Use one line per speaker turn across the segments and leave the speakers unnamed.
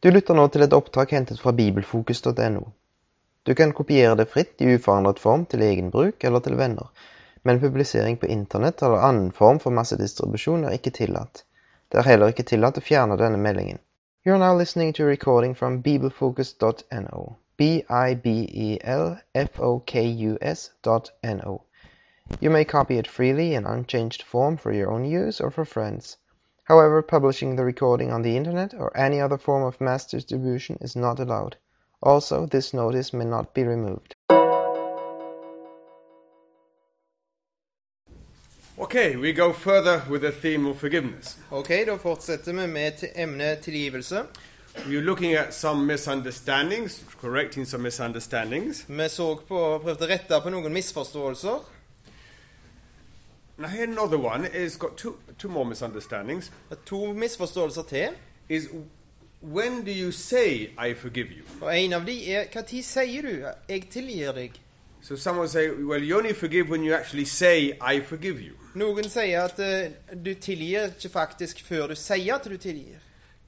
Du lytter nå til et opptak hentet fra bibelfokus.no. Du kan kopiere det fritt i uforandret form til egen bruk eller til venner, men publisering på internett eller annen form for massedistribusjon er ikke tillatt. Det er heller ikke tillatt å fjerne denne meldingen. You are now listening to a recording from bibelfocus.no. E B-I-B-E-L-F-O-K-U-S dot N-O. You may copy it freely in unchanged form for your own use or for friends. However, publishing the recording on the internet or any other form of mass distribution is not allowed. Also, this notice may not be removed.
Okay, we go further with the theme of forgiveness.
Ok, da fortsetter vi med til emnet tilgivelse.
We're looking at some misunderstandings, correcting some misunderstandings.
Vi så på og prøvde å rette på noen misforståelser.
Now here another one is got two two more misunderstandings.
Det er to misforståelser til.
Is when do you say I forgive you?
Og en av de er Hva tid sier du 'jeg tilgir deg'?
So someone say, well, you only forgive when you actually say I forgive you.
Noen sier at eh, du tilgir ikke faktisk før du sier at du tilgir.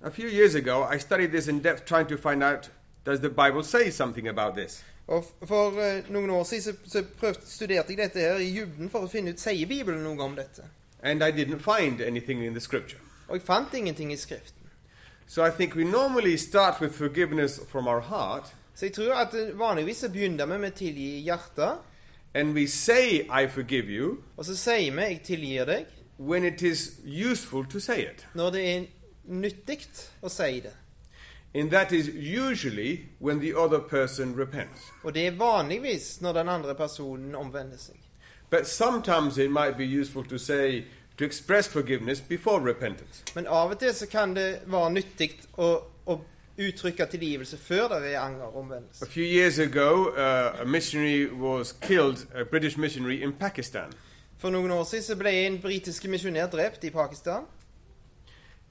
A few years ago, I studied this in depth, trying to find out does the Bible say something about this.
Og f- For eh, noen år siden så, så prøvde, studerte jeg dette her i dybden for å finne ut sier Bibelen noe om dette.
And I didn't find anything in the scripture.
Og jeg fant ingenting i Skriften.
So I think we normally start with forgiveness from our heart,
Så jeg tror at eh, vanligvis så begynner vi med å tilgi i hjertet.
and we say I forgive you
Og så sier vi 'jeg tilgir deg'
when it is useful to say it.
når det er nyttig å si det.
And that is usually when the other person repents.
Og det er vanligvis når den andre personen omvender seg.
But sometimes it might be useful to say, to express forgiveness before repentance.
Men av og til så kan det være nyttig å, å uttrykke tilgivelse før det er anger og
A
omvendelse.
few years ago, uh, a missionary was killed, a British missionary in Pakistan.
For noen år siden så ble en britisk misjonær drept i Pakistan.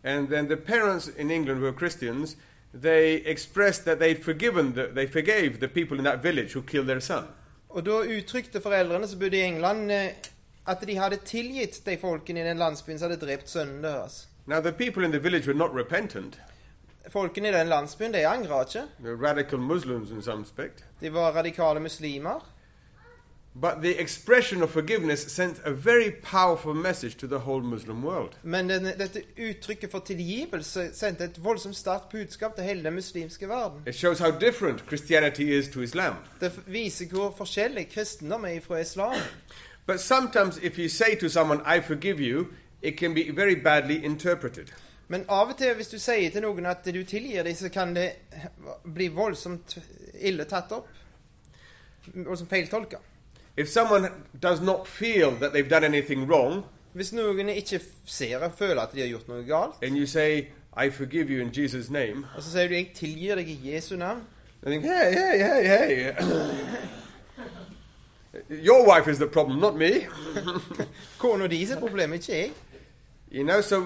And then the parents in England who were Christians, they expressed that they'd forgiven, the, they forgave the people in that village who killed their son.
Og da uttrykte foreldrene som bodde i England, eh, at de hadde tilgitt de folkene i den landsbyen som hadde drept sønnen deres.
Now, the people in the village were not repentant.
Folkene i den landsbyen de angra ikke.
They were radical Muslims in some respect.
De var radikale muslimer.
But the expression of forgiveness sent a very powerful message to the whole Muslim world.
Men den, dette uttrykket for tilgivelse sendte et voldsomt sterkt budskap til hele den muslimske verden.
It shows how different Christianity is to Islam.
Det viser hvor forskjellig kristendom er fra islam.
But sometimes, if you say to someone, I forgive you, it can be very badly interpreted.
Men av og til, hvis du sier til noen at du tilgir dem, så kan det bli voldsomt ille tatt opp. Voldsomt feiltolka.
If someone does not feel that they've done anything wrong,
Hvis noen ikke ser og føler at de har gjort noe galt,
and you say, I forgive you in Jesus' name,
og så sier du 'jeg tilgir deg i Jesu navn',
they think, hey, hey, hey, hey. Your wife is the problem, not me.
kona di sitt problem, ikke jeg.
You know, so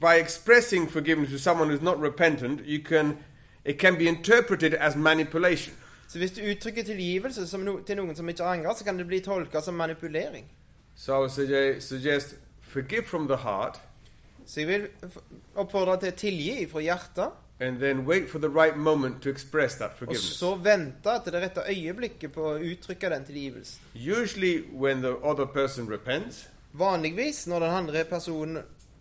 by expressing forgiveness to someone who's not repentant, you can it can be interpreted as manipulation.
Så hvis du uttrykker tilgivelse som no til noen som ikke angrer, så kan det bli tolka som manipulering.
So I would suge- suggest forgive from the heart
Så jeg vil f- oppfordre til å tilgi fra hjertet,
and then wait for the right moment to express that
og
forgiveness.
så vente til det rette øyeblikket på å uttrykke den tilgivelsen.
Usually when the other person repents,
Vanligvis når den andre personen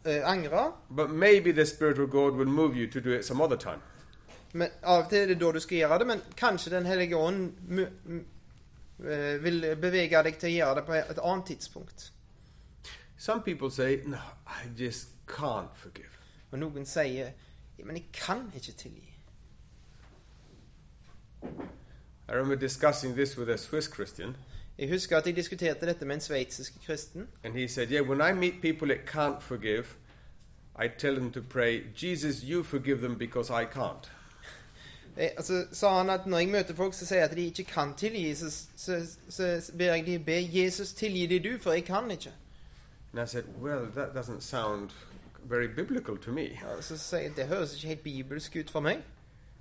eh, angrer,
but maybe the Spirit of God will move you to do it some other time.
men av og til er det da du skal gjøre det, men kanskje Den hellige ånd mu- m- eh, vil bevege deg til å gjøre det på et annet tidspunkt.
Some people say, No, I just can't forgive.
Og noen sier «Ja, 'Men jeg kan ikke tilgi'.
I remember discussing this with a Swiss Christian,
Jeg husker at jeg diskuterte dette med en sveitsisk kristen.
and he said, Yeah, when I meet people that can't forgive, I tell them to pray, Jesus, you forgive them because I can't.
Eh, altså, sa han at når jeg møter folk som sier at de ikke kan tilgi, så, så, så, så ber jeg de be Jesus tilgi de du, for jeg kan ikke.
And I said, Well, that doesn't sound very biblical to me.
Ja, så sier jeg, Det høres ikke helt bibelsk ut for meg.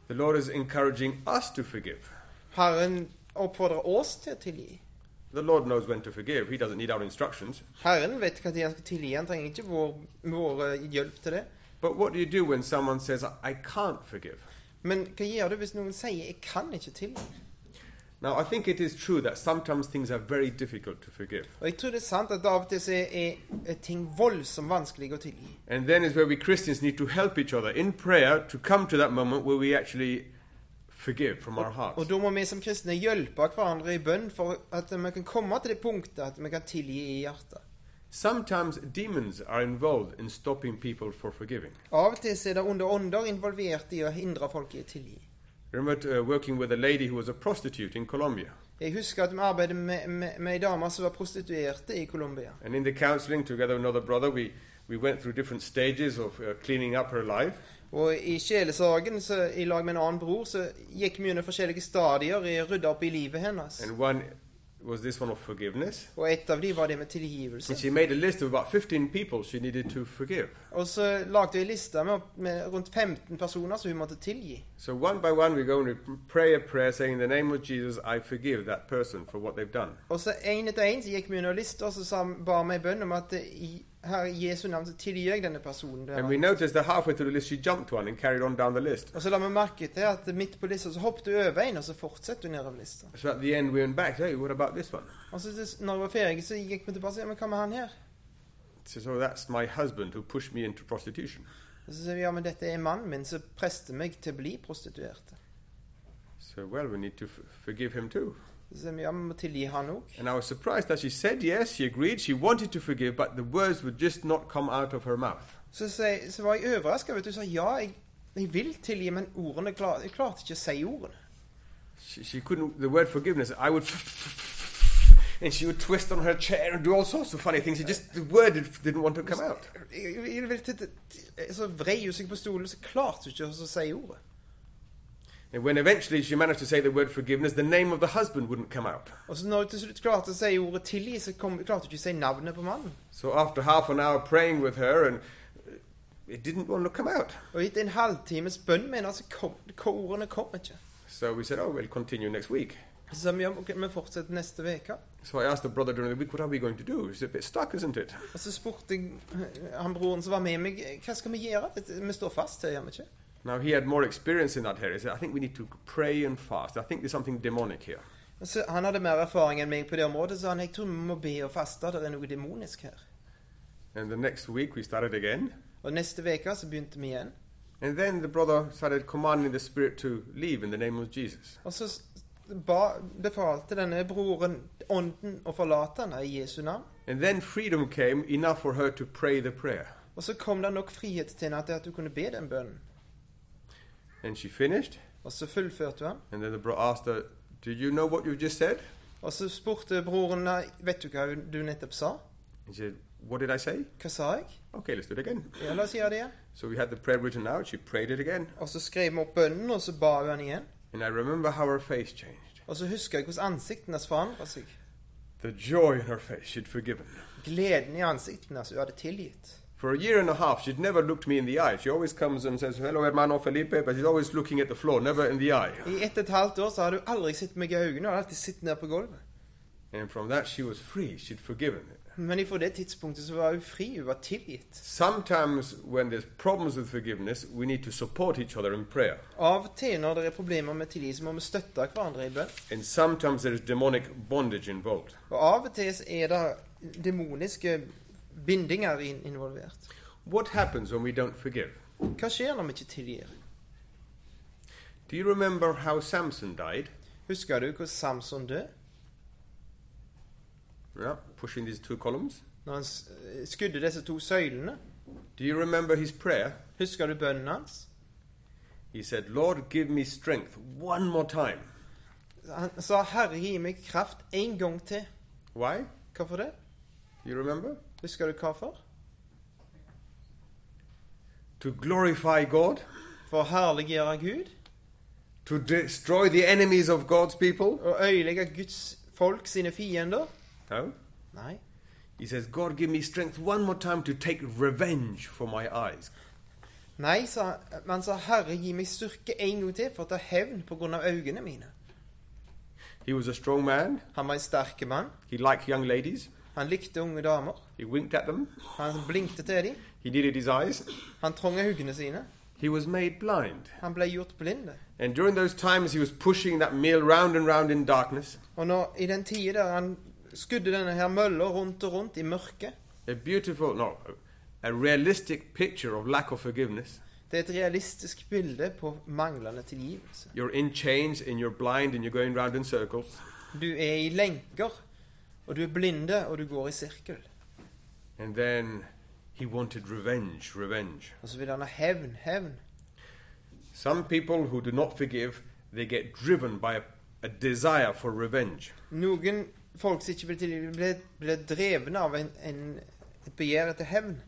The Lord is encouraging us to forgive.
Herren oppfordrer oss til å tilgi.
The Lord knows when to forgive, He doesn't need our instructions.
Herren vet hva tid han skal tilgi. Han trenger ikke vår, vår eh, hjelp til det.
But what do you do when someone says, I can't forgive?
Men hva gjør du hvis noen sier 'jeg kan ikke tilgi'?
Now, I think it is true that sometimes things are very difficult to forgive.
Og jeg tror det er sant at av og til så er, er- er ting voldsomt vanskelig å tilgi.
And then is where we Christians need to help each other in prayer to come to that moment where we actually forgive from our
Og
hearts.
da må vi som kristne hjelpe hverandre i bønn for at vi kan komme til det punktet at vi kan tilgi i hjertet.
Sometimes demons are involved in stopping people for forgiving.
Av og til så er det onde ånder involvert i å hindre folk i å tilgi.
I remember uh, working with a lady who was a prostitute in Colombia.
Jeg husker at vi arbeidet med, med, med ei dame som var prostituerte i Colombia.
And in the counseling, together with another brother, we, we went through different stages of uh, cleaning up her life.
Og i sjelesorgen, så, i lag med en annen bror, så gikk vi under forskjellige stadier i å rydde opp i livet hennes.
And one was this one of forgiveness.
Og et av dem var det med
And
tilgivelse.
she made a list of about 15 people she needed to forgive.
Og så lagde vi ei liste med, med rundt 15 personer som hun måtte tilgi.
So one by one, we go and we pray a prayer saying, In the name of Jesus, I forgive that person for what they've done.
Og så en etter en så gikk vi under lista, og så sa, ba vi i bønn om at eh, i Herre Jesu navn så tilgir jeg denne personen.
And we
Der.
noticed that halfway through the list, she jumped one and carried on down the list.
Og så la vi merke til at midt på lista så hoppet hun over en, og så fortsatte hun nedover lista.
So at the end, we went back, Hey, what about this one?
Og så til- når vi var ferdige, så gikk vi tilbake og sa, ja, men hva med han her?
So, so that's my husband who pushed me into prostitution.
Og så sa vi, ja, men dette er mannen min som preste meg til å bli prostituerte.
So, well, we need to f- forgive him too.
Så sa vi, ja, vi må tilgi han òg.
And I was surprised that she said yes, she agreed, she wanted to forgive, but the words would just not come out of her mouth.
Så, sa jeg- så var jeg overraska, vet du. Hun sa, ja, jeg, jeg vil tilgi, men ordene klar, jeg klarte ikke å si ordene.
She, she couldn't, the word forgiveness, I would. And she would twist on her chair and do all sorts of funny things. She just, the word did- didn't want to come out.
Jeg, jeg, jeg, vil til- til- så vrei hun seg på stolen, så klarte hun ikke å si ordet.
And when eventually she managed to say the word forgiveness, the name of the husband wouldn't come out.
Og så når hun til slutt klarte å si ordet 'tilgi', så kom, klarte hun ikke å si navnet på mannen.
So after half an hour praying with her, and uh, it didn't want to come out.
Og etter en halvtimes bønn med henne, så kom k- ordene kom ikke.
So we said, oh, we'll continue next week.
Så sa vi ja, ok, vi fortsetter neste uke.
So I asked the brother during the week, what are we going to do? He's a bit stuck, isn't it?
Og så spurte jeg eh, han broren som var med meg, hva skal vi gjøre? Dette- Vi står fast her, gjør vi ikke?
Now he had more experience in that area. He said, I think we need to pray and fast. I think there's something demonic here.
Og Så han hadde mer erfaring enn meg på det området, så han jeg tror vi må be og faste, det er noe demonisk her.
And the next week we started again.
Og neste uke så begynte vi igjen.
And then the brother started commanding the spirit to leave in the name of Jesus.
Og så s- ba, befalte denne broren ånden å forlate henne i Jesu navn.
And then freedom came, enough for her to pray the prayer.
Og så kom det nok frihet til henne til at hun kunne be den bønnen.
And she finished.
Og så fullførte hun.
And then the brother asked her, Do you know what you've just said?
Og så spurte broren «Nei, vet du hva du nettopp sa.
And she said, What did I say?
Hva sa jeg?
Okay, let's do it again.
Ja, la oss gjøre det igjen.
So we had the prayer written out. She prayed it again.
Og så skrev vi opp bønnen, og så ba hun den igjen.
And I remember how her face changed.
Og så husker jeg hvordan ansiktet hennes forandret seg.
The joy in her face. She'd forgiven.
Gleden i ansiktet hennes. Hun hadde tilgitt.
For a year and a half, she'd never looked me in the eye. She always comes and says, Hello, hermano Felipe, but she's always looking at the floor, never in the eye.
I ett og et halvt år så hadde hun aldri sett meg i øynene. Hun hadde alltid sittet ned på gulvet.
And from that, she was free. She'd forgiven.
Men ifra det tidspunktet så var hun fri. Hun var tilgitt.
Sometimes, when there's problems with forgiveness, we need to support each other in prayer.
Av og til når det er problemer med tilgi, så må vi støtte hverandre i bønn.
And sometimes there is demonic bondage involved.
Og av og til så er det demoniske bindinger in- involvert.
What happens when we don't forgive?
Hva skjer når vi ikke tilgir?
Do you remember how Samson died?
Husker du hvordan Samson døde?
Yeah, pushing these two columns.
Når han s- eh, skudde disse to søylene?
Do you remember his prayer?
Husker du bønnen hans?
He said, Lord, give me strength one more time.
Han sa 'Herre, gi meg kraft en gang til'.
Why?
Hvorfor det?
You remember?
Husker du hvorfor?
To glorify God,
For å herliggjøre Gud
to destroy the enemies of God's people.
og øyelegge Guds folk sine fiender?
No.
Nei.
He says, God, give me strength one more time to take revenge for my eyes.
Nei, sa, men sa 'Herre, gi meg styrke en gang til for å ta hevn på grunn av øynene mine'.
He was a strong man.
Han var en sterk mann.
He liked young ladies.
Han likte unge damer.
He winked at them.
Han blinkte til dem.
He needed his eyes.
Han trengte hodene sine.
he was made blind.
Han ble gjort blind.
And during those times, he was pushing that mill round and round in darkness.
Og når, i den tida der han skudde denne her mølla rundt og rundt i mørket
A beautiful, no, a realistic picture of lack of forgiveness.
Det er et realistisk bilde på manglende tilgivelse.
You're in chains and you're blind and you're going round in circles.
Du er i lenker, og du er blinde, og du går i sirkel.
And then he wanted revenge, revenge.
Og så vil han ha hevn, hevn.
Some people who do not forgive, they get driven by a, a desire for revenge.
Noen folk som ikke blir tilgitt, blir, blir drevne av en, en, et begjær etter hevn.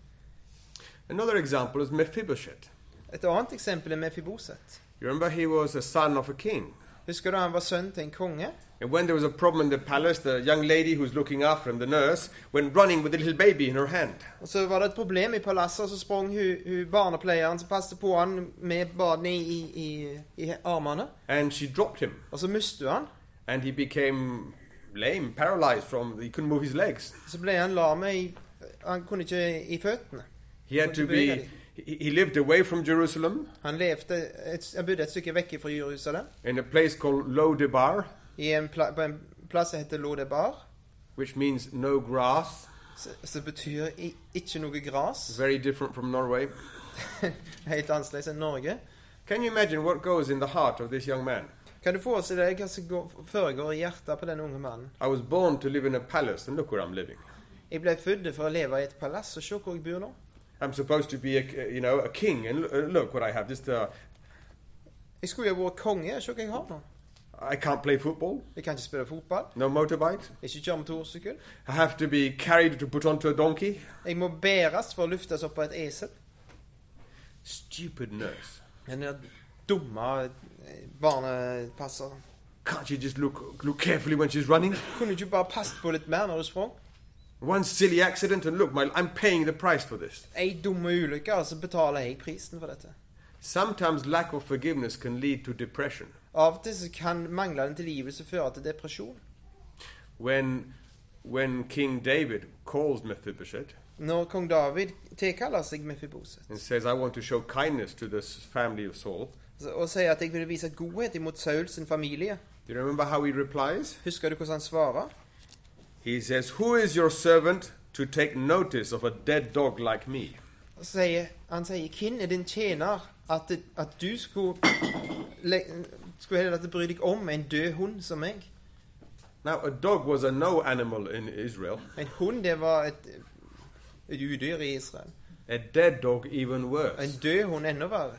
Another example is Mephibosheth.
Et annet eksempel er Mefiboset.
You remember he was a son of a king.
Husker du han var sønn til en konge?
And when there was a problem in the palace, the young lady who's looking after him, the nurse, went running with a little baby in her hand.
Og så var det et problem i palasset, og så sprang hun, hun barnepleieren som passet på han med barnet i, i, i, i armene.
And she dropped him.
Og så mistet hun han.
And he became lame, paralyzed from, he couldn't move his legs.
Og så ble han lame i Han kunne ikke i føttene.
He had to be, he he lived away from Jerusalem
Han levde et, han bodde et stykke vekk fra Jerusalem,
in a place called Lodebar,
i en pla, på en plass som heter Lodebar.
which means no grass,
s- Som betyr i, ikke noe gras.
very different from Norway.
Helt annerledes enn Norge.
Can you imagine what goes in the heart of this young man?
Kan du forestille deg hva som går, foregår i hjertet på den unge mannen?
I was born to live in a palace, and look where I'm living.
Jeg ble født for å leve i et palass, og se hvor jeg bor nå.
I'm supposed to be, a, uh, you know, a king, and l- uh, look what I have. Just, uh,
Jeg skulle jo vært konge, og se hva jeg har nå.
I can't play football,
Jeg kan ikke spille fotball,
no motorbike.
ikke kjøre med torsykkel.
I have to be carried to put onto a donkey.
Jeg må bæres for å luftes opp på et esel.
Stupid nurse.
Den der dumme eh, barnepasseren.
Can't you just look look carefully when she's running?
Kunne du ikke bare passet på litt mer når du sprang?
One silly accident, and look, my, I'm paying the price for this.
Ei dumme ulykke, altså betaler jeg prisen for dette.
Sometimes lack of forgiveness can lead to depression.
Av og til så kan manglende tilgivelse føre til depresjon.
When when King David calls Mephibosheth
Når kong David tilkaller seg Mefiboset
and says, "I want to show kindness to this family of Saul,"
og sier at jeg ville vise godhet imot Saul sin familie,
do you remember how he replies?
husker du hvordan han svarer?
He says, "Who is your servant to take notice of a dead dog like me?"
Og så sier, han sier 'Hvem er din tjener at, det, at du skulle le, skulle heller at du bryr deg om en død hund som meg?'
Now, a dog was a no animal in Israel.
En hund, det var et, et udyr i Israel.
A dead dog, even worse.
En død hund enda verre.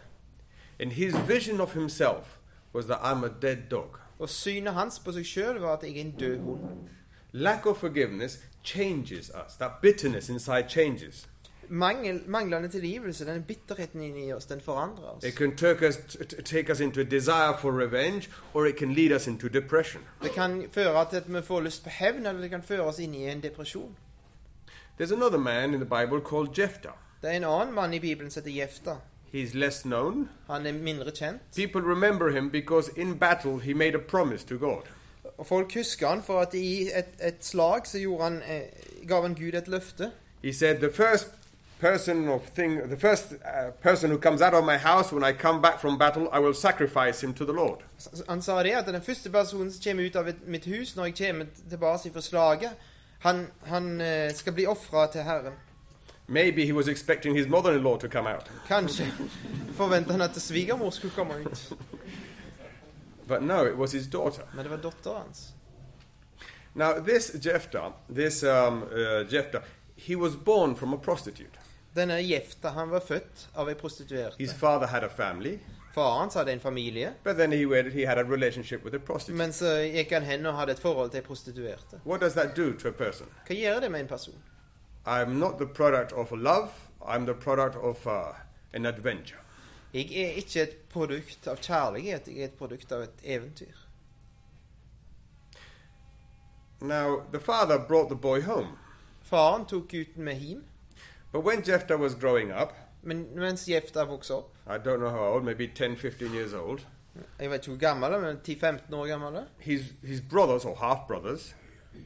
And his vision of himself was that I'm a dead dog.
Og synet hans på seg sjøl var at jeg er en død hund.
Lack of forgiveness changes us. That bitterness inside changes.
Mangel, manglende tilgivelse, den bitterheten inni oss, den forandrer oss.
It can take us, t- t- take us into a desire for revenge, or it can lead us into depression.
Det kan føre til at vi får lyst på hevn, eller det kan føre oss inn i en depresjon.
There's another man in the Bible called Jephthah.
Det er en annen mann i Bibelen som heter Jefta.
He's less known.
Han er mindre kjent.
People remember him because in battle he made a promise to God.
Og folk husker han for at i et, et slag så gjorde han, eh, gav han Gud et løfte.
He said, "The first person or thing, the first uh, person who comes out of my house when I come back from battle, I will sacrifice him to the Lord."
Så- Han sa det at den første personen som kommer ut av et, mitt hus når jeg kommer tilbake fra slaget, han, han eh, skal bli ofra til Herren.
Maybe he was expecting his mother-in-law to come out.
Kanskje forventa han at svigermor skulle komme ut,
But no, it was his daughter.
men det var datteren hans.
Now, this Jephthah, this um, uh, Jephthah, he was born from a prostitute.
Denne Jefta han var født av ei prostituert.
His father had a family,
Faren hans hadde en familie,
but then he, wed- he had a relationship with a prostitute.
men så gikk han hen og hadde et forhold til ei prostituerte.
What does that do to a person?
Hva gjør det med en person?
I'm not the product of love, I'm the product of uh, an adventure.
Jeg er ikke et produkt av kjærlighet, jeg er et produkt av et eventyr.
Now, the father brought the boy home,
Faren tok gutten med hjem,
but when Jephthah was growing up,
men mens Jefta vokste opp
I don't know how old, maybe 10, 15 years old,
Jeg vet ikke hvor gammel han er, men 10-15 år gammel. er.
his, his brothers or half brothers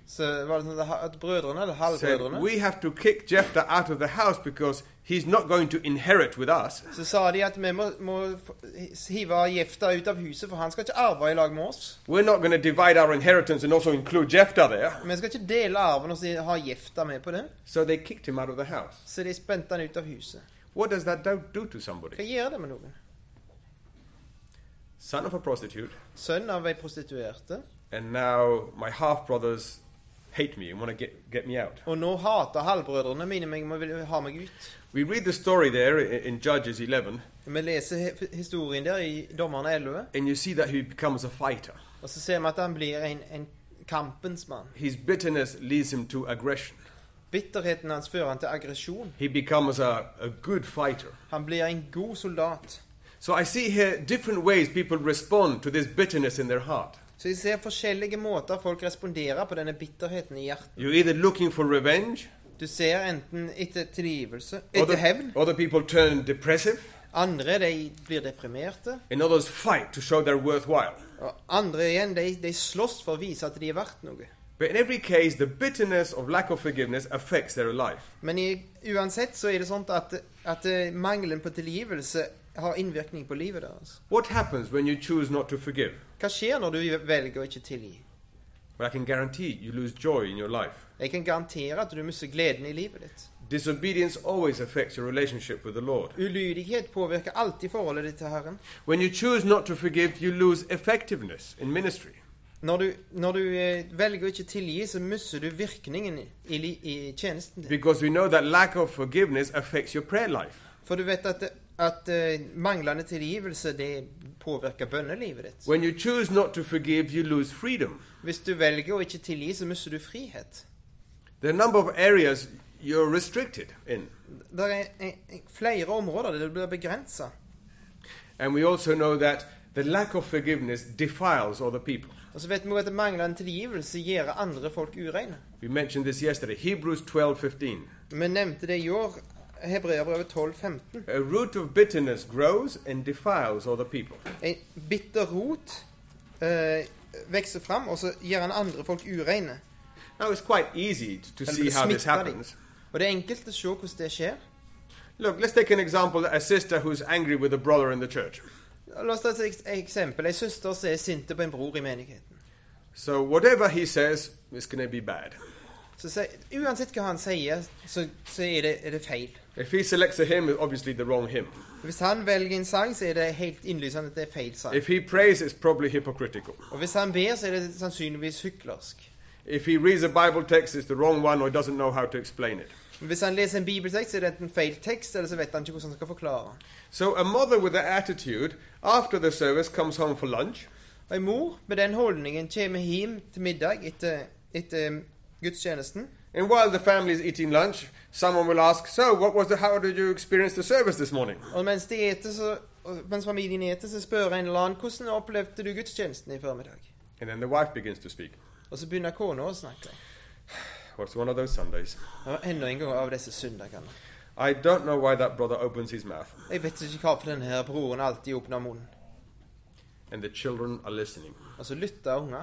Så var det sånn at- at brødrene, eller
said,
halvbrødrene,
We have to kick Jephthah out of the house because he's not going to inherit with us.
så sa de at vi må, må f- hive Jefta ut av huset, for han skal ikke arve i lag med oss.
We're not going to divide our inheritance and also include Jephthah there.
Vi skal ikke dele arven og så ha Jefta med på det.
So they kicked him out of the house.
Så de spente han ut av huset.
What does that do, do to
Hva
somebody?
gjør det med noen?
Son of a prostitute,
Sønn av ei prostituerte.
and now my half brothers hate me and want to get, get me out.
Og nå hater halvbrødrene mine meg og vil ha meg ut.
We read the story there i- in Judges 11,
Vi leser he- historien der i Dommerne 11,
and you see that he becomes a fighter.
og så ser vi at han blir en, en kampens mann.
His bitterness leads him to aggression.
Bitterheten hans fører han til aggresjon.
He becomes a, a good fighter.
Han blir en god soldat.
So I see here different ways people respond to this bitterness in their heart.
Så jeg ser forskjellige måter folk responderer på denne bitterheten i hjertet.
You're either looking for revenge,
Du ser enten etter tilgivelse, etter
other,
hevn.
other people turn depressive,
Andre de blir deprimerte.
and others fight to show they're worthwhile.
Og andre igjen de, de slåss for å vise at de er verdt noe.
But in every case, the bitterness of lack of forgiveness affects their life.
Men i, uansett så er det sånn at, at eh, mangelen på tilgivelse har innvirkning på livet deres.
What happens when you choose not to forgive?
Hva skjer når du velger å ikke tilgi?
Well, I can guarantee you lose joy in your life.
Jeg kan garantere at du mister gleden i livet ditt.
Disobedience always affects your relationship with the Lord.
Ulydighet påvirker alltid forholdet ditt til Herren.
When you choose not to forgive, you lose effectiveness in ministry.
Når du, når du eh, velger å ikke tilgi, så mister du virkningen i, li, i tjenesten din.
Because we know that lack of forgiveness affects your prayer life.
For du vet at, at eh, manglende tilgivelse det påvirker bønnelivet ditt.
When you choose not to forgive, you lose freedom.
Hvis du velger å ikke tilgi, så mister du frihet.
There are a number of areas you're restricted in.
Det er eh, flere områder der du blir begrensa.
And we also know that the lack of forgiveness defiles other people.
Og så vet vi også at manglende tilgivelse gjør andre folk ureine.
We mentioned this yesterday, Hebrews 12:15.
Vi nevnte det i år, Hebreabrevet 12, 15.
A root of bitterness grows and defiles other people.
En bitter rot eh, vokser fram, og så gjør han andre folk ureine.
Now it's quite easy t- to see how this happens.
Og det er enkelt å se hvordan det skjer.
Look, let's take an example, a sister who's angry with a brother in the church.
La oss ta et eks- eksempel. Ei søster som er sinte på en bror i menigheten.
So whatever he says is going to be bad.
Så se, uansett hva han sier, så, så er, det, er det feil.
If he selects a hymn, it's obviously the wrong hymn.
Hvis han velger en sang, så er det helt innlysende at det er feil sang.
If he prays, it's probably hypocritical.
Og hvis han ber, så er det sannsynligvis hyklersk.
If he reads a Bible text, it's the wrong one or doesn't know how to explain it.
Men Hvis han leser en bibeltekst, så er det enten feil tekst, eller så vet han ikke hvordan han skal forklare.
So a mother with that attitude, after the service, comes home for lunch.
Og en mor med den holdningen kommer hjem til middag etter, etter gudstjenesten.
And while the family is eating lunch, someone will ask, "So, what was the? How did you experience the service this morning?"
Og mens, de eter, så, og mens familien eter, så spør en eller annen hvordan opplevde du gudstjenesten i formiddag.
And then the wife begins to speak.
Og så begynner kona å snakke.
Well, it's one of those Sundays.
Og enda en gang av disse søndagene.
I don't know why that brother opens his mouth,
Jeg vet ikke hvorfor denne her broren alltid åpner munnen.
and the children are listening.
Og så lytter ungene.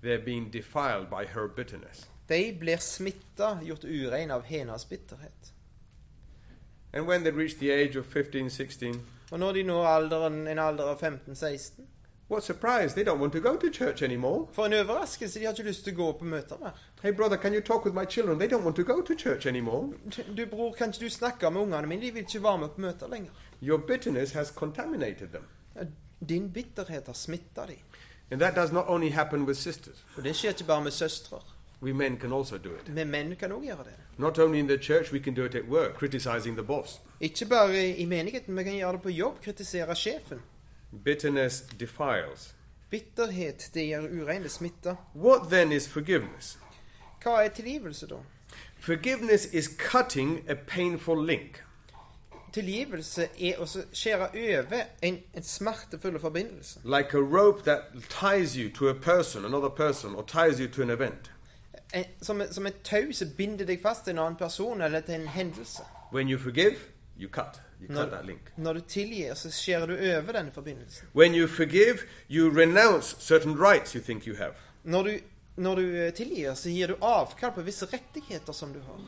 They're being defiled by her bitterness.
De blir smitta, gjort ureine av hennes bitterhet.
And when they reach the age of 15, 16,
Og når de når alderen, en alder av 15-16
what surprise! They don't want to go to church anymore.
For en overraskelse, de har ikke lyst til å gå på møter mer.
Hey, brother, can you talk with my children? They don't want to go to church anymore.
Du, bror, kan ikke du snakke med ungene mine? De vil ikke være med på møter lenger.
Your bitterness has contaminated them.
Din bitterhet har smitta de.
And that does not only happen with sisters.
Og det skjer ikke bare med søstre.
We men can also do it.
Men menn kan òg gjøre det.
Not only in the church, we can do it at work, criticizing the boss.
Ikke bare i menigheten, vi kan gjøre det på jobb. Kritisere sjefen.
Bitterness defiles.
Bitterhet, det gjør urein, det smitter.
What then is forgiveness?
Hva er tilgivelse, da?
Forgiveness is cutting a painful link.
Tilgivelse er å så skjære over en, en smertefull forbindelse.
Like a rope that ties you to a person, another person, or ties you to an event.
En, som, som et tau som binder deg fast til en annen person eller til en hendelse.
When you forgive, you cut. You cut
Når,
that link.
når du tilgir, så skjærer du over denne forbindelsen.
When you forgive, you renounce certain rights you think you have.
Når du når du eh, tilgir, så gir du avkall på visse rettigheter som du har.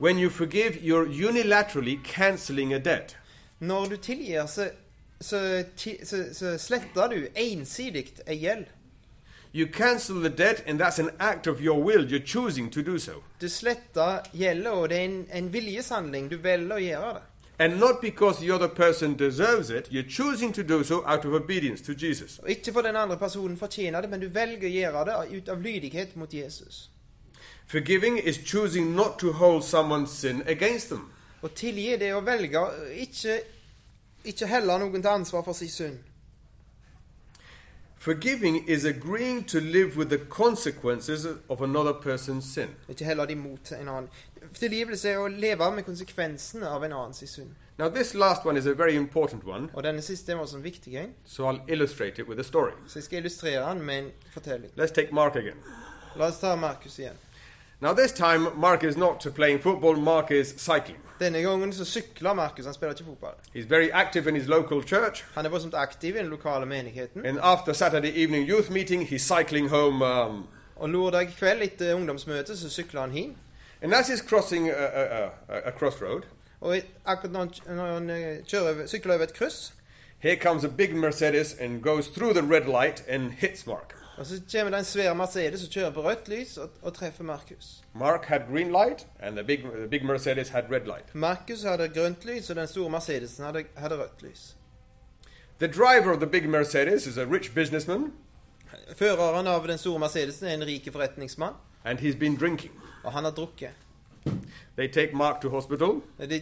When you forgive, you're unilaterally cancelling a debt.
Når du tilgir, så, så, ti, så, så sletter du ensidig ei gjeld.
You cancel the debt, and that's an act of your will. You're choosing to do so.
Du sletter gjelda, og det er en, en viljeshandling. Du velger å gjøre det.
And not because the other person deserves it, you're choosing to do so out of obedience to Jesus.
Og ikke for den andre personen fortjener det, men du velger å gjøre det ut av lydighet mot Jesus.
Forgiving is choosing not to hold someone's sin against them.
Å tilgi det er å velge å ikke, ikke heller noen til ansvar for sin synd.
Forgiving is agreeing to live with the consequences of another person's sin.
Og Ikke heller det imot en annen. Tilgivelse er å leve med konsekvensene av en annens synd.
Now, this last one is a very important one,
Og denne siste var også en viktig en,
so I'll illustrate it with a story.
så jeg skal illustrere den med en fortelling.
Let's take Mark again.
La oss ta Markus igjen.
Now, this time, Mark is not playing football, Mark is cycling.
Denne gangen så sykler Markus, han spiller ikke fotball.
He's very active in his local church,
Han er voldsomt aktiv i den lokale menigheten.
and after Saturday evening youth meeting, he's cycling home. Um,
Og lørdag kveld etter ungdomsmøtet så sykler han hjem.
and as he's crossing uh, a, a, a, a crossroad,
Og et- akkurat når han, kj- når han eh, kjører over, sykler over et kryss,
here comes a big Mercedes and goes through the red light and hits Mark.
og så kommer det en svær Mercedes som kjører på rødt lys og, og treffer Markus.
Mark had green light, and the big, the big Mercedes had red light.
Markus hadde grønt lys, og den store Mercedesen hadde, hadde rødt lys.
The driver of the big Mercedes is a rich businessman,
Føreren av den store Mercedesen er en rik forretningsmann,
and he's been drinking.
og han har drukket.
They take Mark to hospital.
De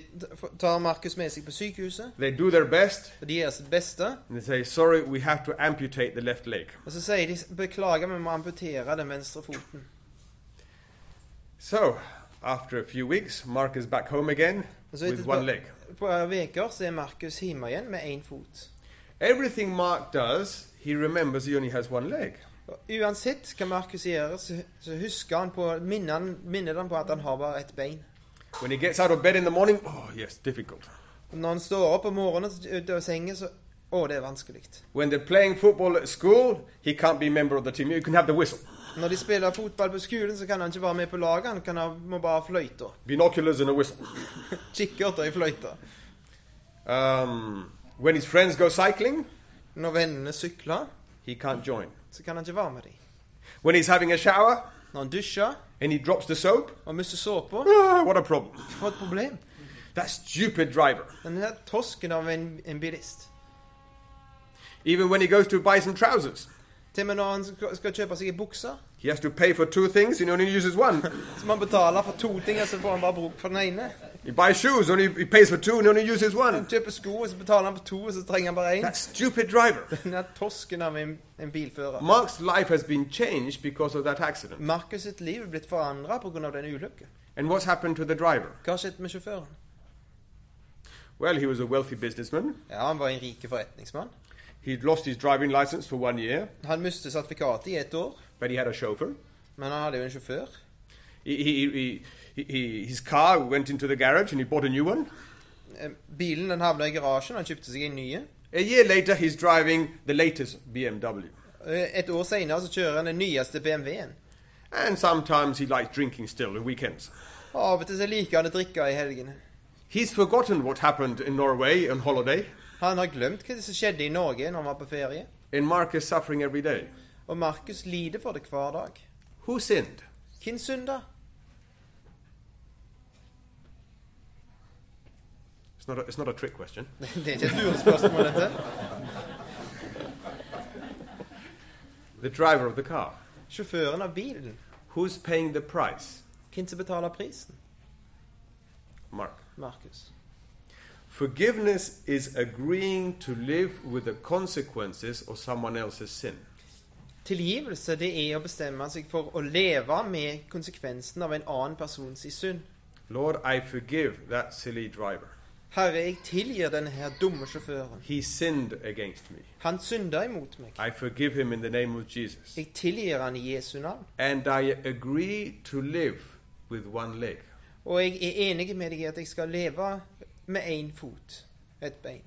tar Markus med seg på sykehuset,
They do their best,
og de gjør sitt beste.
and they say, "Sorry, we have to amputate the left leg."
Og så sier de 'beklager, vi må amputere den venstre foten'.
So, after a few weeks, Mark is back home again
Og så
with one leg.
et par uker så er Markus hjemme igjen med én fot.
Everything Mark does, he remembers he only has one leg.
Og uansett hva Markus gjør, så, så husker han på minner han, minner han på at han har bare ett bein.
When he gets out of bed in the morning, oh yes, difficult.
Og når han står opp om morgenen så- ut av sengen, så Å, det er vanskelig.
When they're playing football at school, he can't be a member of the team. You can have the whistle,
Når de spiller fotball på skolen, så kan han ikke være med på laget. Han kan ha, må bare ha fløyta.
binoculars and a whistle.
Kikkerter i fløyta.
Um, when his friends go cycling,
Når vennene sykler,
he can't join.
så kan han ikke være med dem.
When he's having a shower
Når han dusjer
and he drops the soap,
og mister såpa,
ah, what a problem.
for et problem.
That stupid driver.
Den her tosken av en, en bilist.
Even when he goes to buy some trousers,
Til og med når han skal, skal kjøpe seg ei bukse,
he has to pay for two things and he only uses one.
så må han betale for to ting, og så får han bare bruk for den ene.
he buys shoes, only he pays for two and only uses
Han
one.
kjøper sko, og så betaler han for to, og så trenger han bare én.
That stupid driver.
Den er tosken av en, en bilfører.
Mark's life has been changed because of that accident.
Markus sitt liv er blitt forandra pga. den ulykken.
And what's happened to the driver?
Hva har skjedd med sjåføren?
Well, he was a wealthy businessman.
Ja, Han var en rik forretningsmann.
He'd lost his driving license for one year,
Han mistet sertifikatet i ett år,
but he had a chauffeur.
men han hadde jo en sjåfør.
He, he, he, he, his car went into the garage and he bought a new one.
Eh, Bilen den havna i garasjen, han kjøpte seg en ny.
A year later, he's driving the latest BMW.
Eh, Et år seinere kjører han den nyeste BMW-en.
And sometimes he likes drinking still on weekends.
Og Av og til så liker han å drikke i helgene.
He's forgotten what happened in Norway on holiday,
Han har glemt hva som skjedde i Norge når han var på ferie.
and Mark is suffering every day.
Og Markus lider for det hver dag.
Who sinned?
Hvem synder?
It's not a, it's not a trick question.
Det er ikke et lurespørsmål, dette.
The driver of the car.
Sjåføren av bilen.
Who's paying the price?
Hvem som betaler prisen?
Mark.
Markus.
Forgiveness is agreeing to live with the consequences of someone else's sin.
Tilgivelse det er å bestemme seg for å leve med konsekvensen av en annen persons synd.
Lord, I forgive that silly driver.
Herre, jeg tilgir denne her dumme sjåføren.
He sinned against me.
Han synder imot meg.
I forgive him in the name of Jesus.
Jeg tilgir han i Jesu navn.
And I agree to live with one leg.
Og jeg er enig med deg i at jeg skal leve med én fot, et bein.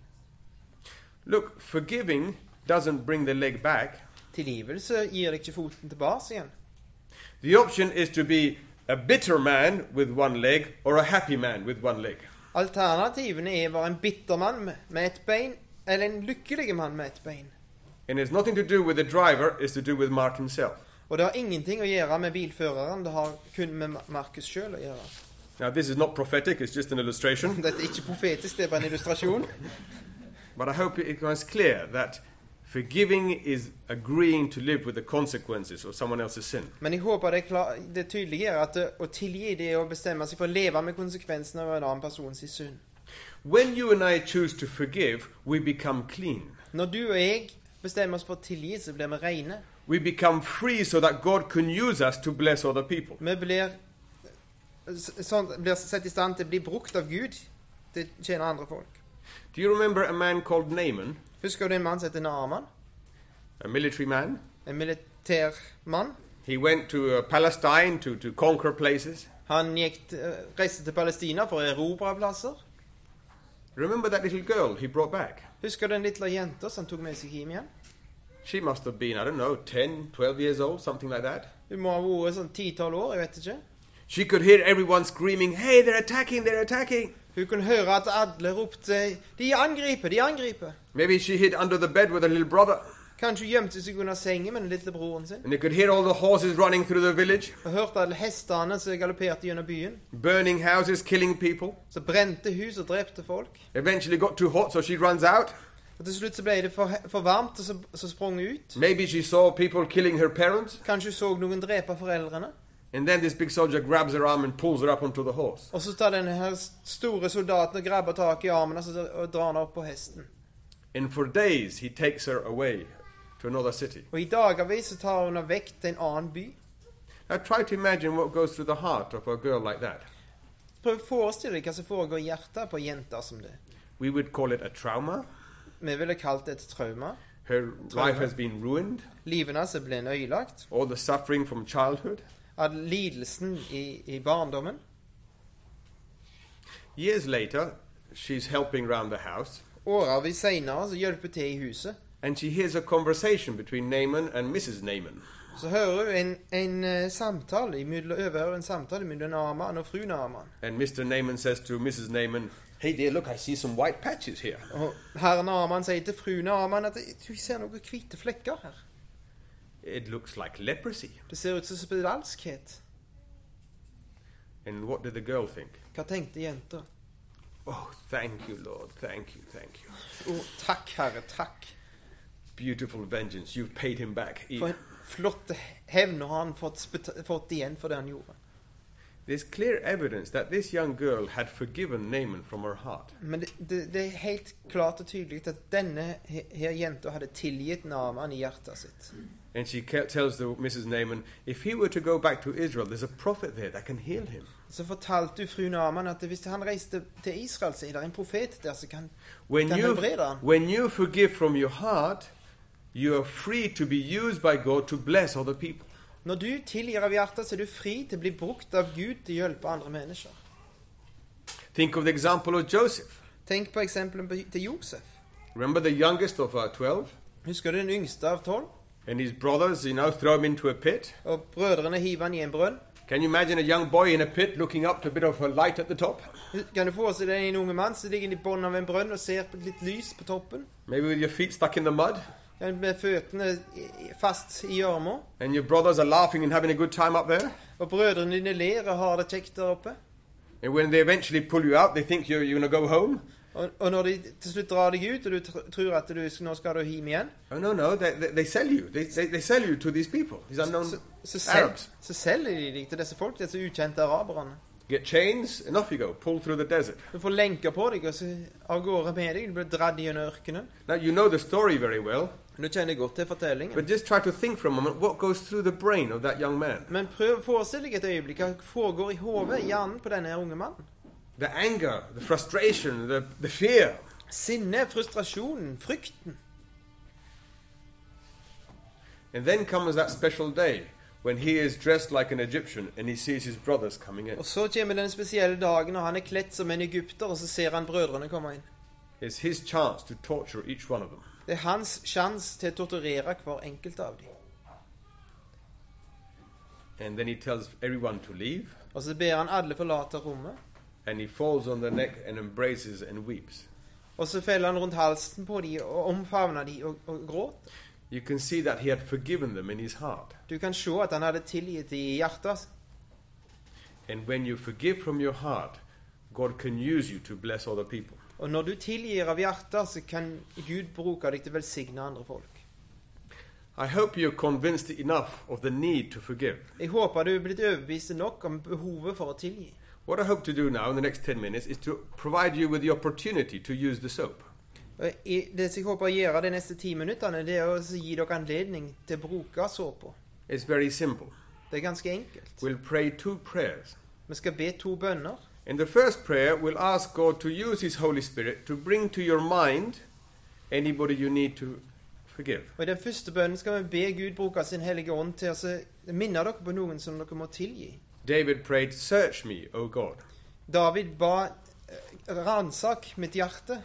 Look, forgiving doesn't bring the leg back,
Tilgivelse gir deg ikke foten tilbake igjen.
The option is to be a bitter man with one leg or a happy man with one leg.
Alternativene er å være en bitter mann med- med ett bein, eller en lykkelig mann med ett bein.
And it's nothing to do with the driver, it's to do with Mark himself.
Og det har ingenting å gjøre med bilføreren, det har kun med Ma- Markus sjøl å gjøre.
Now, this is not prophetic, it's just an illustration,
Dette er ikke profetisk, det er bare en illustrasjon.
but I hope it becomes clear that forgiving is agreeing to live with the consequences of someone else's sin.
Men jeg håper det, er klar, det tydelige er at det, å tilgi det er å bestemme seg for å leve med konsekvensene av en annen persons synd.
When you and I choose to forgive, we become clean.
Når du og jeg bestemmer oss for å tilgi, så blir vi rene.
We become free so that God can use us to bless other people.
Vi blir, s- sånn, blir satt i stand til å bli brukt av Gud til å tjene andre folk.
Do you remember a man called Naaman,
Husker du en mann som heter Naaman?
a military man?
En militær mann.
He went to uh, Palestine to, to conquer places.
Han gikk, t- eh, reiste til Palestina for å erobre plasser.
Remember that little girl he brought back?
Husker du den lille jenta som han tok med seg hjem igjen?
She must have been, I don't know, 10, 12 years old, something like that.
Hun må ha vært sånn ti-tolv år, jeg vet ikke.
She could hear everyone screaming, Hey, they're attacking, they're attacking.
Hun kunne høre at alle ropte 'De angriper! De angriper!'
Maybe she hid under the bed with her little brother.
Kanskje hun gjemte seg under sengen med den lille broren sin.
And they could hear all the horses running through the village,
Og hørte alle hestene som galopperte gjennom byen.
burning houses, killing people.
Så brente hus og drepte folk.
Eventually got too hot, so she runs out.
Og til slutt så ble det for, for varmt, og så, så sprang hun ut.
Maybe she saw people killing her parents.
Kanskje hun så noen drepe foreldrene.
And then this big soldier grabs her arm and pulls her up onto the horse.
Og så tar denne her store soldaten og grabber tak i armen og, så, og drar henne opp på hesten.
And for days he takes her away to another city.
Og i dagevis så tar hun henne vekk til en annen by.
Now try to imagine what goes through the heart of a girl like that.
Prøv å forestille deg hva som foregår i hjertet på jenter som det.
We would call it a trauma.
Vi ville kalt det et traume.
Her life has been ruined.
Livet hennes ble ødelagt
All the suffering from childhood.
av lidelsen i, i barndommen.
Years later, she's helping round the house
Årevis seinere så hjelper hun til i huset.
and she hears a conversation between Naaman and Mrs. Naaman.
Så hører hun en, en eh, samtale imellom- overhører en samtale mellom Naaman og fru Naaman.
And Mr. Naaman says to Mrs. Naaman, Hey dear, look, I see some white patches here.
Og herr Naaman sier til fru Naaman at «Jeg tror jeg ser noen hvite flekker her.
It looks like leprosy.
Det ser ut som spedalskhet.
And what did the girl think?
Hva tenkte jenta?
Oh, thank you, Lord. Thank you, thank you.
Å, takk, herre, takk.
Beautiful vengeance. You've paid him back. He-
For en flott hevn har han fått, spet- fått igjen for det han gjorde.
There's clear evidence that this young girl had forgiven Naaman from her heart.
Men det, det, det er helt klart og tydelig at denne he- her jenta hadde tilgitt Naaman i hjertet sitt.
And she ke- tells the, Mrs. Naaman, if he were to go back to Israel, there's a prophet there that can heal him.
Så fortalte du fru Naaman at hvis han reiste til Israel, så er det en profet der som kan
When
kan
you,
helbrede han.
when you forgive from your heart, you are free to be used by God to bless other people.
Når du tilgir av hjertet, så er du fri til å bli brukt av Gud til å hjelpe andre mennesker.
Think of the example of Joseph.
Tenk på eksempelet på- til Josef.
Remember the youngest of our 12?
Husker du den yngste av tolv?
And his brothers, you know, throw him into a pit.
Og brødrene hiver han i en brønn.
Can you imagine a young boy in a pit looking up to a bit of a light at the top?
Kan du forestille deg en unge mann som ligger i bunnen av en brønn og ser på litt lys på toppen?
Maybe with your feet stuck in the mud?
Ja, Med føttene i- i- fast i gjørma.
And your brothers are laughing and having a good time up there?
Og brødrene dine ler og har det kjekt der oppe.
And when they eventually pull you out, they think you're, you're going to go home?
Og, og når de til slutt drar deg ut, og du tr tror at du, nå skal du hjem igjen,
Oh, no, no, they, they, they sell you. They, they, they sell you to these people, these unknown
så, så, sel,
Arabs.
så selger de deg til disse folk, disse ukjente araberne.
Get chains, and off you go, pull through the desert.
Du får lenker på deg, og så av gårde med deg. Du blir dratt gjennom ørkenen.
Now, you know the story very well,
Du kjenner godt til fortellingen.
but just try to think for a moment what goes through the brain of that young man.
Men prøv å forestille deg et øyeblikk hva foregår i hodet, i hjernen på denne her unge mannen.
The anger, the frustration, the, the fear.
Sinne, frustrasjonen, frykten.
And then comes that special day when he is dressed like an Egyptian and he sees his brothers coming in.
Og så kommer den spesielle dagen, og han er kledd som en egypter, og så ser han brødrene komme inn.
It's his chance to torture each one of them.
Det er hans sjanse til å torturere hver enkelt av dem.
And then he tells everyone to leave.
Og så ber han alle forlate rommet.
And he falls on the neck and embraces and weeps.
Og så feller han rundt halsen på dem og omfavner dem og, og gråt.
You can see that he had forgiven them in his heart.
Du kan se at han hadde tilgitt dem i hjertet. altså.
And when you forgive from your heart, God can use you to bless other people.
Og når du tilgir av hjertet, så kan Gud bruke deg til å velsigne andre folk.
I hope you're convinced enough of the need to forgive.
Jeg håper du er blitt overbevist nok om behovet for å tilgi.
What I hope to do now in the next 10 minutes is to provide you with the opportunity to use the soap.
Og i- Det som jeg håper å gjøre de neste ti minuttene, det er å gi dere anledning til å bruke såpa.
It's very simple.
Det er ganske enkelt.
We'll pray two prayers.
Vi skal be to bønner.
In the first prayer, we'll ask God to use His Holy Spirit to bring to your mind anybody you need to forgive.
Og I den første bønnen skal vi be Gud bruke sin hellige ånd til å se- minne dere på noen som dere må tilgi.
David prayed, Search me, O God.
David ba eh, ransak mitt hjerte.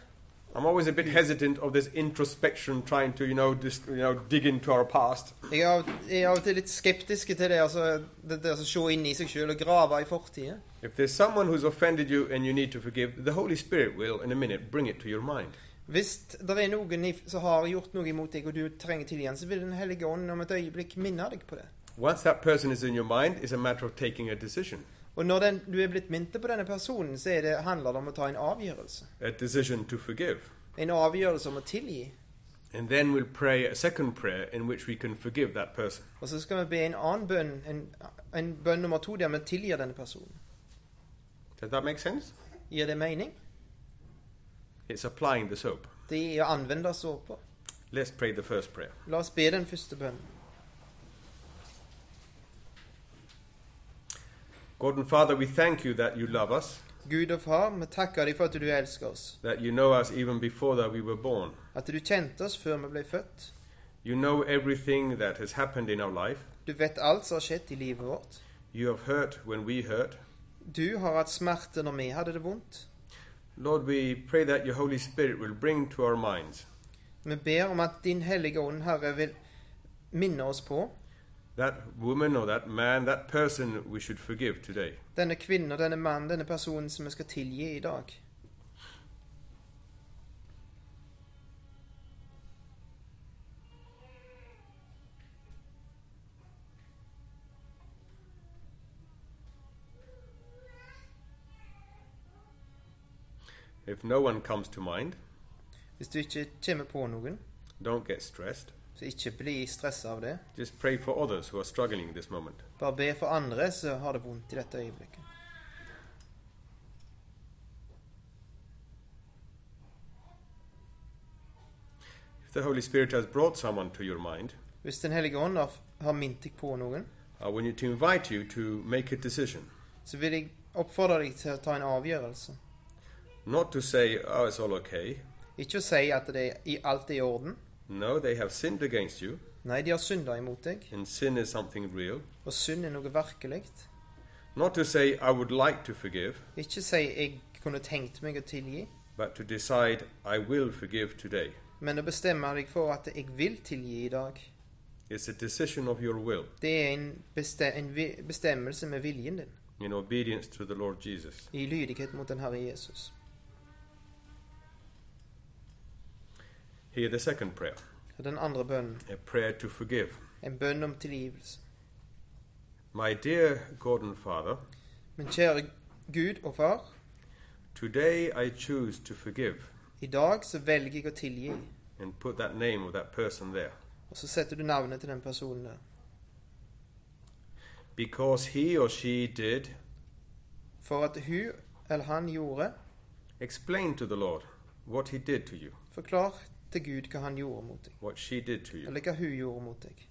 I'm always a bit hesitant of this introspection, trying to, you know, just, you know, dig into our past.
Jeg er av, jeg er av og til litt skeptisk til det, altså, det, det å se inn i seg sjøl og grave i fortida.
If there's someone who's offended you and you need to forgive, the Holy Spirit will, in a minute, bring it to your mind.
Hvis det er noen i- som har gjort noe imot deg, og du trenger tilgivelse, så vil Den hellige ånd om et øyeblikk minne deg på det.
Once that person is in your mind, it's a matter of taking a decision.
Og når den, du er blitt minnet på denne personen, så er det, handler det om å ta en avgjørelse.
a decision to forgive.
En avgjørelse om å tilgi.
And then we'll pray a second prayer in which we can forgive that person.
Og så skal vi be en annen bønn, en, en bønn nummer to, der vi tilgir denne personen.
Does that make sense?
Gir det mening?
It's applying the soap.
Det er å anvende såpa.
Let's pray the first prayer.
La oss be den første bønnen.
God and Father, we thank you that you love us,
Gud og Far, vi takker deg for at du elsker oss.
that you know us even before that we were born.
At du kjente oss før vi ble født.
You know everything that has happened in our life.
Du vet alt som har skjedd i livet vårt.
You have hurt when we hurt.
Du har hatt smerte når vi hadde det vondt.
Lord, we pray that your Holy Spirit will bring to our minds
Vi ber om at Din Hellige Ånd, Herre, vil minne oss på
that woman or that man, that person we should forgive today.
denne kvinnen, denne mannen, denne personen som vi skal tilgi i dag.
If no one comes to mind,
Hvis du ikke kommer på noen,
don't get stressed.
så ikke bli stressa av det.
Just pray for others who are struggling in this moment.
Bare be for andre som har det vondt i dette øyeblikket.
If the Holy Spirit has brought someone to your mind,
Hvis Den Hellige Ånd har, har mint deg på noen,
I want you to invite you to make a decision.
så vil jeg oppfordre deg til å ta en avgjørelse.
Not to say, oh, it's all okay.
Ikke å si at det er, i alt er i orden.
No, they have sinned against you,
Nei, de har synda imot deg,
and sin is something real.
og synd er noe virkelig.
Not to say, I would like to forgive,
Ikke si 'jeg kunne tenkt meg å tilgi',
but to decide, I will forgive today.
men å bestemme deg for at 'jeg vil tilgi i dag',
It's a decision of your will
det er en, beste, en vi, bestemmelse med viljen din,
in obedience to the Lord Jesus.
i lydighet mot den Herre Jesus.
Hear the second prayer
Og den andre bønnen,
a prayer to forgive.
en bønn om tilgivelse.
My dear God and Father,
Men kjære Gud og Far,
today I choose to forgive
i dag så velger jeg å tilgi.
and put that name of that person there.
Og så setter du navnet til den personen der.
because he or she did,
For at hun eller han gjorde,
explain to the Lord what he did to you,
forklar til Gud hva han gjorde mot deg,
what she did to you.
eller hva hun gjorde mot deg.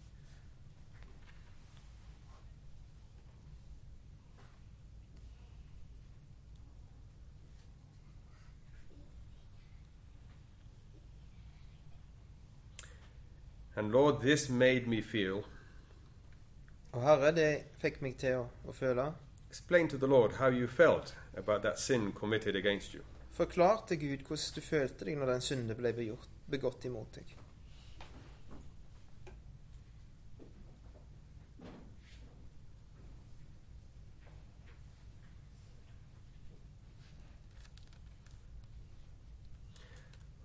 And Lord, this made me feel.
Og Herre, det fikk meg til å, å føle.
Explain to the Lord how you felt about that sin committed against you.
Forklar til Gud hvordan du følte deg når den synde ble begjort, begått imot deg.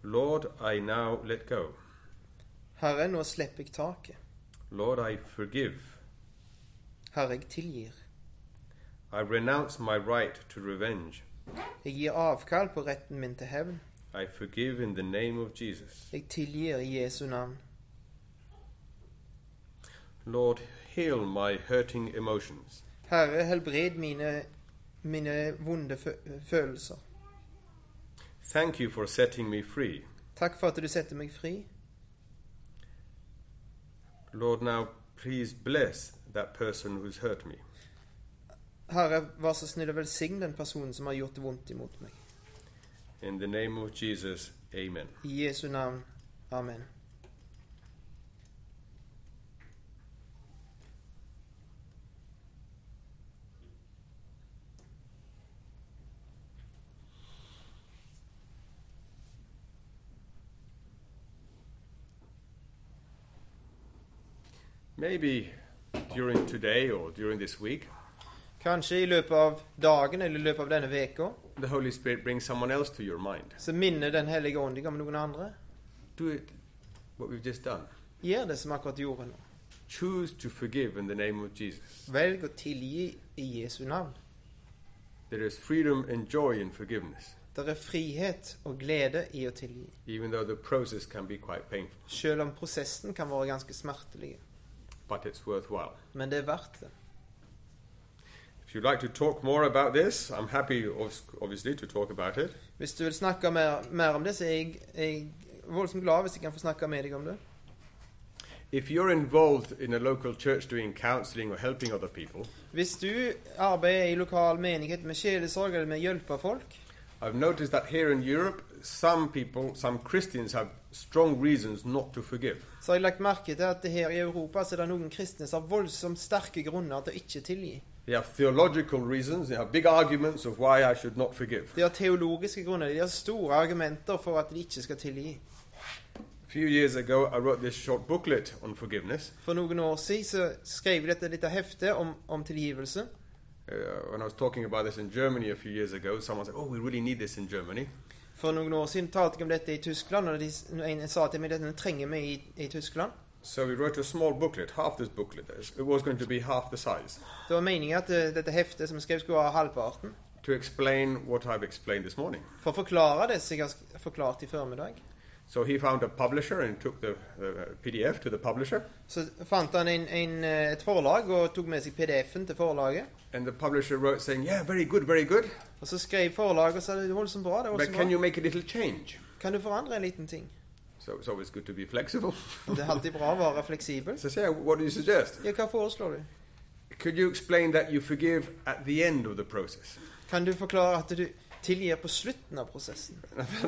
Lord, I now let go.
Herre, nå slipper jeg taket.
Lord, I forgive.
Herre, jeg tilgir.
I renounce my right to revenge.
Jeg gir avkall på retten min til hevn.
I forgive in the name of Jesus.
Jeg tilgir i Jesu navn.
Lord, heal my hurting emotions.
Herre, helbred mine, mine vonde fø følelser.
Thank you for setting me free.
Takk for at du setter meg fri.
Lord, now please bless that person who's hurt me.
Herre, vær så snill og velsign den personen som har gjort det vondt imot meg.
In the name of Jesus, amen.
I Jesu navn. Amen.
Maybe during today or during this week,
Kanskje i løpet av dagen eller i løpet av denne veka,
the Holy Spirit brings someone else to your mind.
så minner Den hellige ånd deg om noen andre.
Do it what we've just done.
Gjør det som akkurat gjorde nå.
Choose to forgive in the name of Jesus.
Velg å tilgi i Jesu navn.
There is freedom and joy in forgiveness,
Det er frihet og glede i å tilgi,
even though the process can be quite painful,
selv om prosessen kan være ganske smertelig.
but it's worthwhile.
Men det er verdt det.
If you'd like to talk more about this, I'm happy, obs- obviously, to talk about it.
Hvis du vil snakke mer, mer om det, så er jeg, jeg er voldsomt glad hvis jeg kan få snakke med deg om det.
If you're involved in a local church doing counseling or helping other people,
Hvis du arbeider i lokal menighet med sjelesorg eller med å hjelpe folk,
I've noticed that here in Europe, some people, some Christians, have strong reasons not to forgive.
så har jeg lagt merke til at her i Europa så er det noen kristne som har voldsomt sterke grunner til å ikke tilgi.
They have theological reasons, they have big arguments of why I should not forgive.
De har teologiske grunner, de har store argumenter for at de ikke skal tilgi.
A few years ago, I wrote this short booklet on forgiveness
For noen år siden så skrev jeg dette lille heftet om, om tilgivelse.
Uh, when I was talking about this in Germany a few years ago, someone said, "Oh, we really need this in Germany."
For noen år siden talte jeg om dette i Tyskland, og de, en sa til meg at dette trenger vi i, i Tyskland.
So we wrote a small booklet, half this booklet. It was going to be half the size
Det var meningen at eh, dette heftet som jeg skrev skulle ha halvparten.
to explain what I've explained this morning.
For å forklare det som jeg har sk- forklart i formiddag,
So he found a publisher and took the, the uh, PDF to the publisher,
så fant han en, en, eh, et forlag og tok med seg PDF-en til forlaget.
and the publisher wrote saying, "Yeah, very good, very good,
Og så skrev forlaget og sa det er voldsomt bra. det
but
er voldsomt
can
bra.
you make a little change?"
Kan du forandre en liten ting?
So it's always good to be flexible.
Det er alltid bra å være fleksibel.
So I say, "Yeah, what do you suggest?
Ja, hva foreslår du?
Could you explain that you forgive at the end of the process?
Kan du forklare at du tilgir på slutten av prosessen?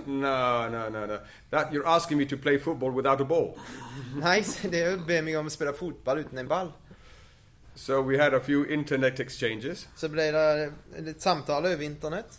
no, no, no, no. That you're asking me to play football without a ball.
Nei, så det er jo å be meg om å spille fotball uten en ball.
So we had a few internet exchanges.
Så ble det litt samtale over internett.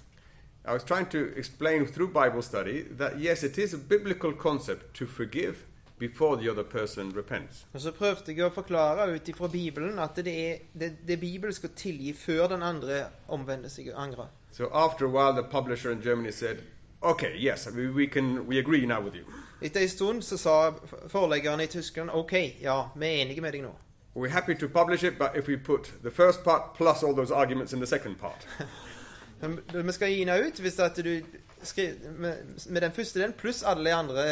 I was trying to explain through Bible study that yes, it is a biblical concept to forgive before the other person repents.
Og så prøvde jeg å forklare ut ifra Bibelen at det er det, det Bibelen skal tilgi før den andre omvender seg og angrer.
So after a while, the publisher in Germany said, "Okay, yes, I mean, we can. We agree now with you.
Etter en stund så sa forleggeren i Tyskland OK, ja, vi er enige med deg nå.
We're happy to publish it, but if we put the first part plus all those arguments in the second part."
Men vi skal gi henne ut hvis at du skriver med, med den første delen pluss alle de andre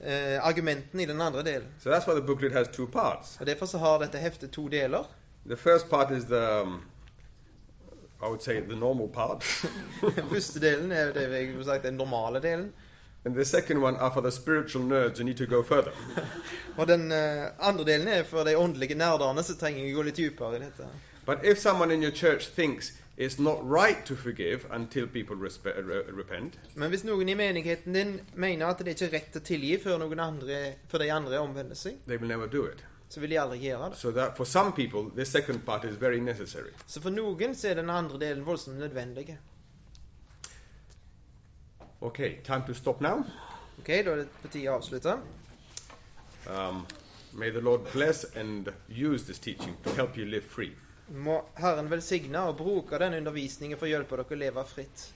eh, argumentene i den andre delen.
So that's why the booklet has two parts.
Og Derfor så har dette heftet to deler.
The first part is the, um, I would say, the normal part,
Den første delen er jo det jeg vil sagt, den normale delen.
and the second one are for the spiritual nerds who need to go further.
Og den eh, andre delen er for de åndelige nerdene som trenger å gå litt dypere i dette.
But if someone in your church thinks it's not right to forgive until people respe- uh, re- repent,
Men hvis noen i menigheten din mener at det ikke er rett å tilgi før, noen andre, før de andre omvender seg,
they will never do it.
så vil de aldri gjøre det.
So that for some people, this second part is very necessary.
Så for noen så er den andre delen voldsomt nødvendig.
Okay, time to stop now.
Ok, da er det på tide å avslutte.
Um, may the Lord bless and use this teaching to help you live free.
Må Herren velsigne og bruke den undervisningen for å hjelpe dere å leve fritt.